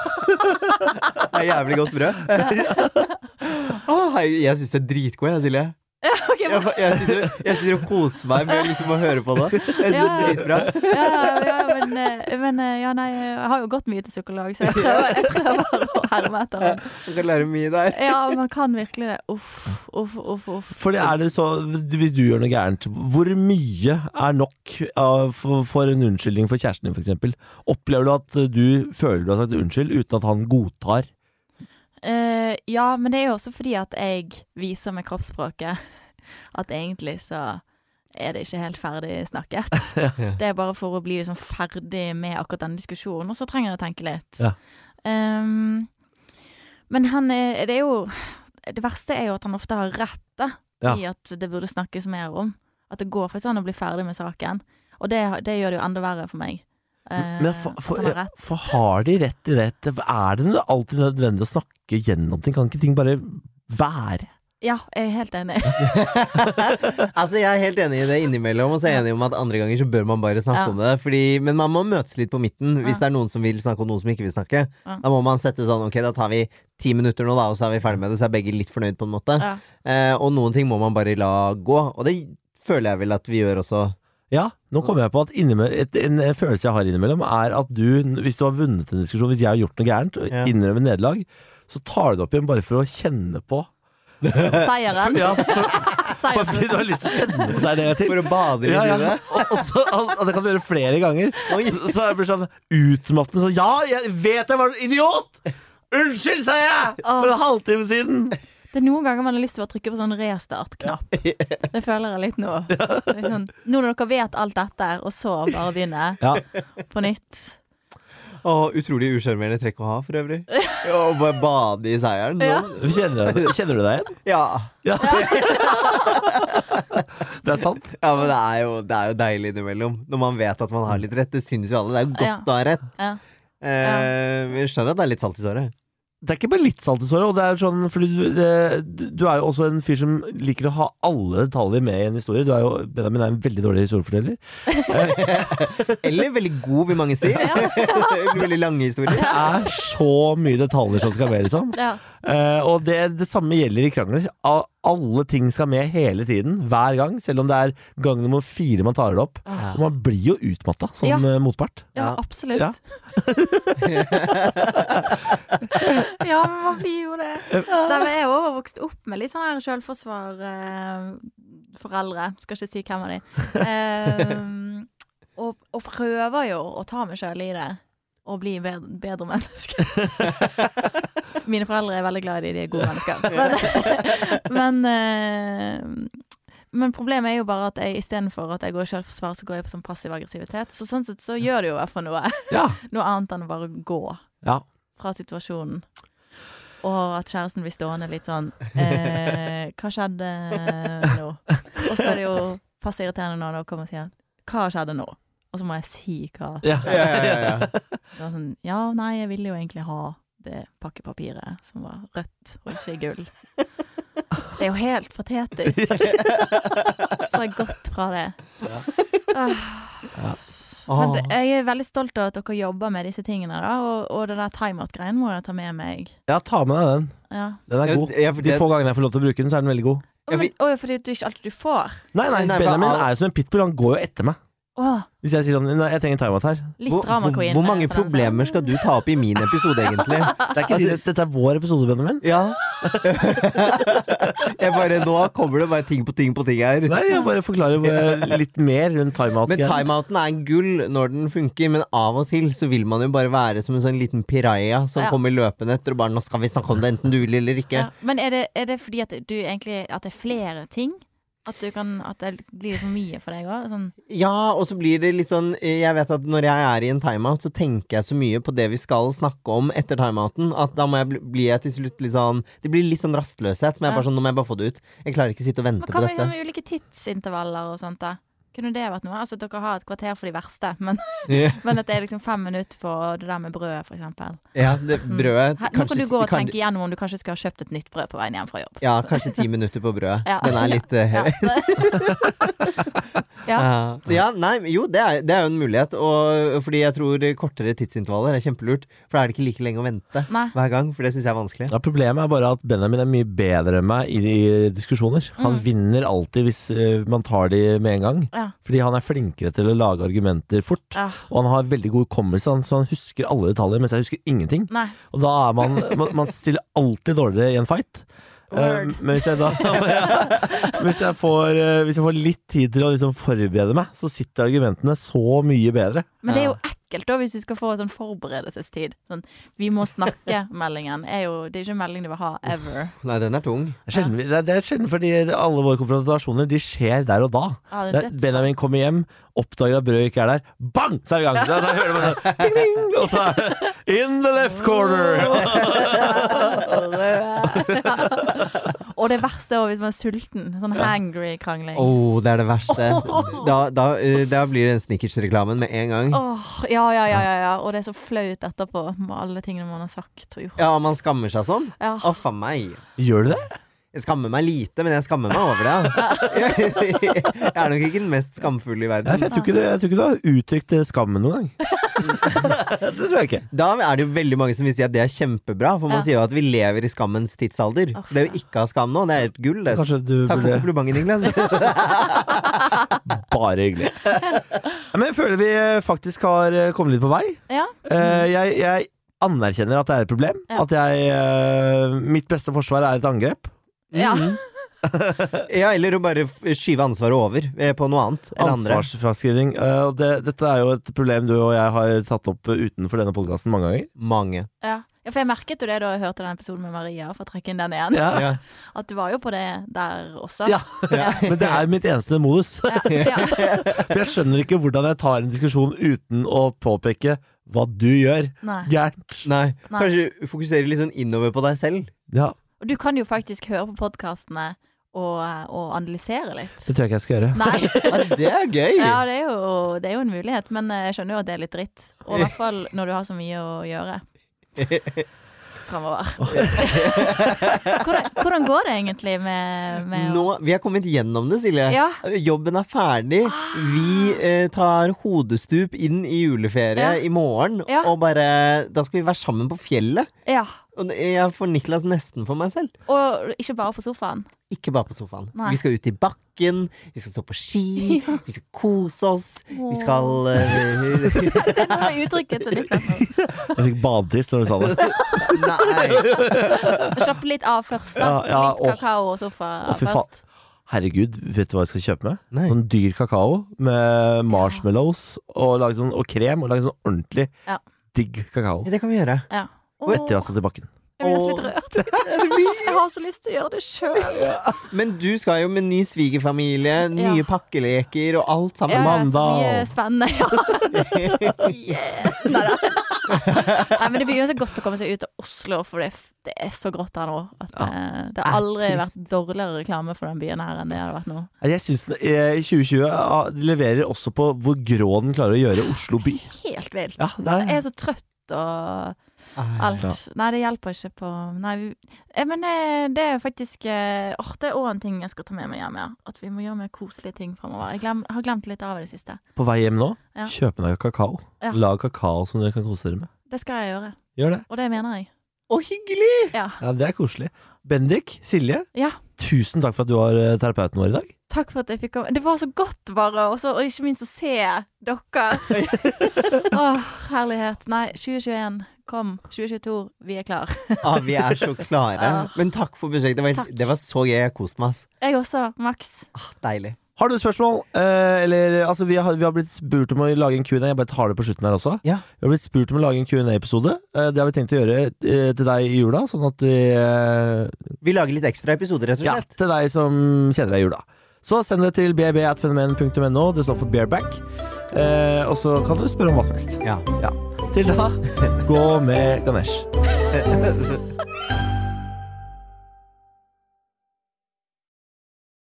Det er jævlig godt [laughs] brød. [laughs] Å, hei, jeg syns det er dritgod, jeg, Silje. [laughs] Ok, Jeg, men- jeg, sitter, og- jeg sitter og koser meg med liksom å høre på det. Jeg synes det er Ja. dritbra. ja, ja, ja, men, eh, men eh, ja, nei, jeg har jo gått mye til psykolog, så jeg prøver, jeg prøver å herme etter. Men. Du kan lære mye der. Ja, man kan virkelig det. Uff, uff, uff. uff. Fordi er det så, Hvis du gjør noe gærent, hvor mye er nok av- for, for en unnskyldning for kjæresten din f.eks.? Opplever du at du føler du har sagt unnskyld uten at han godtar? Eh, ja, men det er jo også fordi at jeg viser med kroppsspråket [laughs] at egentlig så er det ikke helt ferdig snakket. [laughs] Det er bare for å bli liksom ferdig med akkurat denne diskusjonen, og så trenger jeg å tenke litt. Ja. Ehm, men han er, det er jo Det verste er jo at han ofte har rett da, Ja. i at det burde snakkes mer om. At det går faktisk an å bli ferdig med saken. Og det, det gjør det jo enda verre for meg. eh, Men for, at for, han har rett. for har de rett i det? Er det alltid nødvendig å snakke gjennom ting? Kan ikke ting bare være? Ja, jeg er helt enig. Altså, jeg er helt enig i det innimellom, og så er jeg enig om at andre ganger så bør man bare snakke Ja. om det. Fordi, men man må møtes litt på midten hvis det Ja. er noen som vil snakke, og noen som ikke vil snakke. Ja. Da må man sette sånn Ok, da tar vi ti minutter nå, da, og så er vi ferdig med det. Så er begge litt fornøyd, på en måte. Ja. Eh, og noen ting må man bare la gå. Og det føler jeg vel at vi gjør også. Ja, nå kommer jeg på at innime- et, en følelse jeg har innimellom, er at du, hvis du har vunnet en diskusjon, hvis jeg har gjort noe gærent, og Ja. innrømmer nederlag, så tar du det opp igjen bare for å kjenne på. Seieren. Ja, for, bare fordi du Seieren. har lyst til å kjenne på seg det en gang til. For å bade litt Ja, ja. i det. Og, og så, og, og det kan du gjøre flere ganger. Så jeg blir sånn utmattende sånn Ja, jeg vet jeg var en idiot! Unnskyld, sa jeg! For en halvtime siden. Det er noen ganger man har lyst til å bare trykke på sånn restart-knapp. Det føler jeg litt nå. Det er Sånn, nå når dere vet alt dette, og så bare begynne Ja. på nytt. Og utrolig usjarmerende trekk å ha, for øvrig. Og bare bade i seieren. Ja. Nå. Kjenner, du- kjenner du deg igjen? Ja. Ja. [laughs] Det er sant. Ja, men det er, jo, det er jo deilig innimellom. Når man vet at man har litt rett. Det synes jo alle. Det er jo godt Ja. å ha rett. Ja. Eh, men jeg skjønner at det er litt salt i såret. Det er ikke bare litt salt i såret. Og det er sånn, fordi du, det, du er jo også en fyr som liker å ha alle detaljer med i en historie. Du er jo, Benjamin er en veldig dårlig historieforteller. Eller veldig god, vil [laughs] mange si. veldig lange historier. Det er så mye detaljer som skal med, liksom. ja. Eh, og det, det samme gjelder i krangler. A- Alle ting skal med hele tiden, hver gang. Selv om det er gang nummer fire man tar det opp. Og man blir jo utmatta som Ja. eh, motpart. ja Ja. Ja. absolutt. [laughs] Ja, men man blir jo det. Nei, men jeg er overvokst opp med litt sånn her sjølforsvar-foreldre. Skal ikke si hvem av de. Ehm, og, og prøver jo å ta meg sjøl i det. Og bli bedre, bedre menneske. [laughs] Mine foreldre er veldig glad i de, de er gode mennesker. Men, [laughs] men, eh, men problemet er jo bare at jeg istedenfor at jeg går i sjølforsvar, så går jeg på sånn passiv aggressivitet. Så sånn sett så gjør det jo i hvert fall noe. Ja. [laughs] Noe annet enn å bare gå ja. fra situasjonen. Og at kjæresten blir stående litt sånn [laughs] eh, Hva skjedde nå? Og så er det jo passe irriterende når noen kommer og sier Hva skjedde nå? Og så må jeg si hva. Ja. Ja, ja, ja, ja. Det var sånn, ja, nei, jeg ville jo egentlig ha det pakkepapiret som var rødt og ikke gull. Det er jo helt patetisk. Så jeg har gått fra det. Ah. Men det, jeg er veldig stolt av at dere jobber med disse tingene, da. Og, og det der timeout-greien må jeg ta med meg. ja, ta med deg den. Ja. Den er Ja, god. ja, for De det- få gangene jeg får lov til å bruke den, så er den veldig god. Å, Ja, men, vi- å, ja, fordi du ikke alltid du får. Nei, nei, Nei, for Benjamin alle- er jo som en pitbull. Han går jo etter meg. Å, Hvis jeg sier sånn Nei, jeg trenger timeout her. litt Hvor, drama hvor, queen. hvor er mange dette, den problemer skal du sangen. ta opp i min episode, egentlig? Det Altså- er ikke din, dette er vår episode, Benjamin. [laughs] Ja. [laughs] Jeg bare, nå kommer det bare ting på ting på ting her. Nei, jeg bare forklarer hvor- litt mer rundt timeout. Men timeouten er gull når den funker, men av og til så vil man jo bare være som en sånn liten piraja som Ja. kommer løpende etter og bare 'Nå skal vi snakke om det, enten du vil eller ikke'. Ja. Men er det, er det fordi at du egentlig At det er flere ting? At, du kan, at det blir for mye for deg òg? Sånn, Ja, og så blir det litt sånn eh, Jeg vet at når jeg er i en timeout, så tenker jeg så mye på det vi skal snakke om etter timeouten, at da må jeg bli, blir jeg til slutt litt sånn Det blir litt sånn rastløshet, som jeg Ja. bare sånn Nå må jeg bare få det ut. Jeg klarer ikke å sitte og man vente kan på liksom dette. ulike tidsintervaller og sånt, da. Kunne det vært noe? Altså at dere har et kvarter for de verste, [laughs] men, [laughs] Ja, men at det er liksom fem minutter på det der med brødet, for eksempel. ja det, Sånn, brødet Her, nå kanskje kan du ti- gå og kan- tenke igjennom om du kanskje skulle ha kjøpt et nytt brød på veien hjem fra [laughs] jobb. Ja, kanskje ti minutter på brødet. [laughs] Ja. Den er litt eh, Ja. heavy. [laughs] Ja. ja, nei, men jo, det er, det er jo en mulighet. Og, fordi jeg tror kortere tidsintervaller er kjempelurt. For da er det ikke like lenge å vente Nei. hver gang, for det syns jeg er vanskelig. Ja, problemet er bare at Benjamin er mye bedre enn meg i, i diskusjoner. Mm. Han vinner alltid hvis eh, man tar de med en gang. Ja. Fordi han er flinkere til å lage argumenter fort. Ja. Og han har veldig god hukommelse, han- så han husker alle detaljer, mens jeg husker ingenting. Nei. Og da er man Man, man stiller alltid dårligere i en fight. Word. Eh, men hvis jeg da [laughs] hvis, jeg får, eh, hvis jeg får litt tid til å liksom forberede meg, så sitter argumentene så mye bedre. Men det Ja. er jo ekkelt da, hvis du skal få sånn forberedelsestid. Sånn, vi må [laughs] snakke-meldingen. er jo- Det er jo ikke en melding du vil ha ever. Nei, den er tung. Det er sjelden, det er, det er sjelden fordi alle våre konfrontasjoner De skjer der og da. Ja, det Det er er- døds- Benjamin kommer hjem, oppdager at brødet ikke er der. Bang! Så er vi i gang. Da, da hører man sånn ding, ding, Og så er det In the left corner! Og det verste er også hvis man er sulten. Sånn hangry-krangling. Å, det er det verste. Da, da, eh, da blir det den snickers-reklamen med en gang. Åh, ja, ja, ja, ja, ja. Og det er så flaut etterpå med alle tingene man har sagt og gjort. Ja, man skammer seg sånn. Å, Ja. faen meg. Gjør du det? Jeg skammer meg lite, men jeg skammer meg over det. ja. [laughs] jeg er nok ikke den mest skamfulle i Nei, for verden. jeg tror ikke du, jeg tror ikke du har uttrykt eh, skammen noen gang. det tror jeg ikke. Da er det jo veldig mange som vil si at det er kjempebra, for man Ja. sier jo at vi lever i skammens tidsalder. Uff, Det er jo ikke å ha skam nå, det er helt gull. Det. Kanskje du Takk for burde komplimenten, [laughs] Niklas. Bare hyggelig. Ja, Men jeg føler vi eh, faktisk har eh, kommet litt på vei. Ja. Eh, Jeg, jeg anerkjenner at det er et problem. Ja. At jeg eh, Mitt beste forsvar er et angrep. ja. Ja, eller å bare f- skyve ansvaret over eh, på noe annet. Eller andre. Ansvarsfraskriving. Eh, og det, dette er jo et problem du og jeg har tatt opp eh, utenfor denne podkasten mange ganger. Mange. ja. Ja, for jeg merket jo det da jeg hørte den episoden med Maria, for å trekke inn den igjen. Ja. Ja. At du var jo på det der også. Ja. Ja. Men det er mitt eneste modus. Ja. ja. For jeg skjønner ikke hvordan jeg tar en diskusjon uten å påpeke hva du gjør Nei. gærent. Nei. Nei. Kanskje fokusere litt sånn innover på deg selv. Ja, Og du kan jo faktisk høre på podkastene og, og analysere litt. det tror jeg ikke jeg skal gjøre. Nei. Ja, det er gøy! Ja, det er, jo, det er jo en mulighet, men eh, jeg skjønner jo at det er litt dritt. Og i hvert fall når du har så mye å gjøre fremover. [laughs] Hvordan, hvordan går det egentlig med, med Nå, vi er kommet gjennom det, Silje. Ja. Ah. Jobben er ferdig. Vi eh, tar hodestup inn i juleferie Ja. i morgen, Ja. og bare Da skal vi være sammen på fjellet. Ja. Og jeg får Niklas nesten for meg selv. Og ikke bare på sofaen. Ikke bare på sofaen. Nei. Vi skal ut i bakken, vi skal stå på [laughs] ski, vi skal kose oss. Vi skal eh, [laughs] Det var uttrykket til Niklas nå. Jeg fikk badetiss når du sa det. Nei. Slappe litt av først, da. Ja, ja, litt åh. kakao og sofa Å, fy faen. først. Herregud, vet du hva jeg skal kjøpe meg? Nei. Sånn dyr kakao med marshmallows og, lage sånn, og krem. Og lage sånn ordentlig Ja. digg kakao. Ja, det kan vi gjøre. Ja. Åh, Etter jeg har stått i bakken. jeg blir nesten litt [laughs] rørt. Jeg har så lyst til å gjøre det sjøl. Men du skal jo med ny svigerfamilie, nye Ja. pakkeleker og alt sammen. Ja, Mandal. så mye spennende. [laughs] Ja. yeah. Nei, Nei, men det blir jo så godt å komme seg ut av Oslo, for det, det er så grått her nå. At, eh, det har aldri er vært dårligere reklame for den byen her enn det har vært nå. Jeg syns 2020 ah, leverer også på hvor grå den klarer å gjøre Oslo by. Helt vilt. Ja, det Jeg er er så trøtt og Ah, alt. Nei, det hjelper ikke på Nei, vi, eh, men eh, det er faktisk eh, Åh, det er òg en ting jeg skal ta med meg hjem, ja. At vi må gjøre mer koselige ting framover. Jeg glem, har glemt litt av det siste. på vei hjem nå. Ja. Kjøp deg kakao. Ja. Lag kakao som dere kan kose dere med. Det skal jeg gjøre. Gjør det. Og det mener jeg. Å, hyggelig! Ja. Ja, Det er koselig. Bendik, Silje, ja. tusen takk for at du var eh, terapeuten vår i dag. Takk for at jeg fikk komme. Det var så godt, bare. Og, så, og ikke minst å se dere. Åh, herlighet. Nei, 2021, kom. 2022, vi er klar. Ah, vi er så klare. Ah. Men takk for besøket. Det, var- Takk. det var så gøy. Jeg koste meg. ass. Jeg også, Max. Ah, deilig. Har du spørsmål? Eh, eller, altså, vi, har, vi har blitt spurt om å lage en Q&A. Jeg bare tar det på slutten her også. Ja. Vi har blitt spurt om å lage en Q&A-episode. Eh, det har vi tenkt å gjøre eh, til deg i jula, sånn at vi eh, Vi lager litt ekstra episoder, rett og Ja, slett. til deg som kjeder deg i jula. Så send det til bb.fenomen.no. Det står for bareback. Eh, og så kan du spørre om [laughs] hva som helst. Ja. Ja. Til da, gå med Ganesh.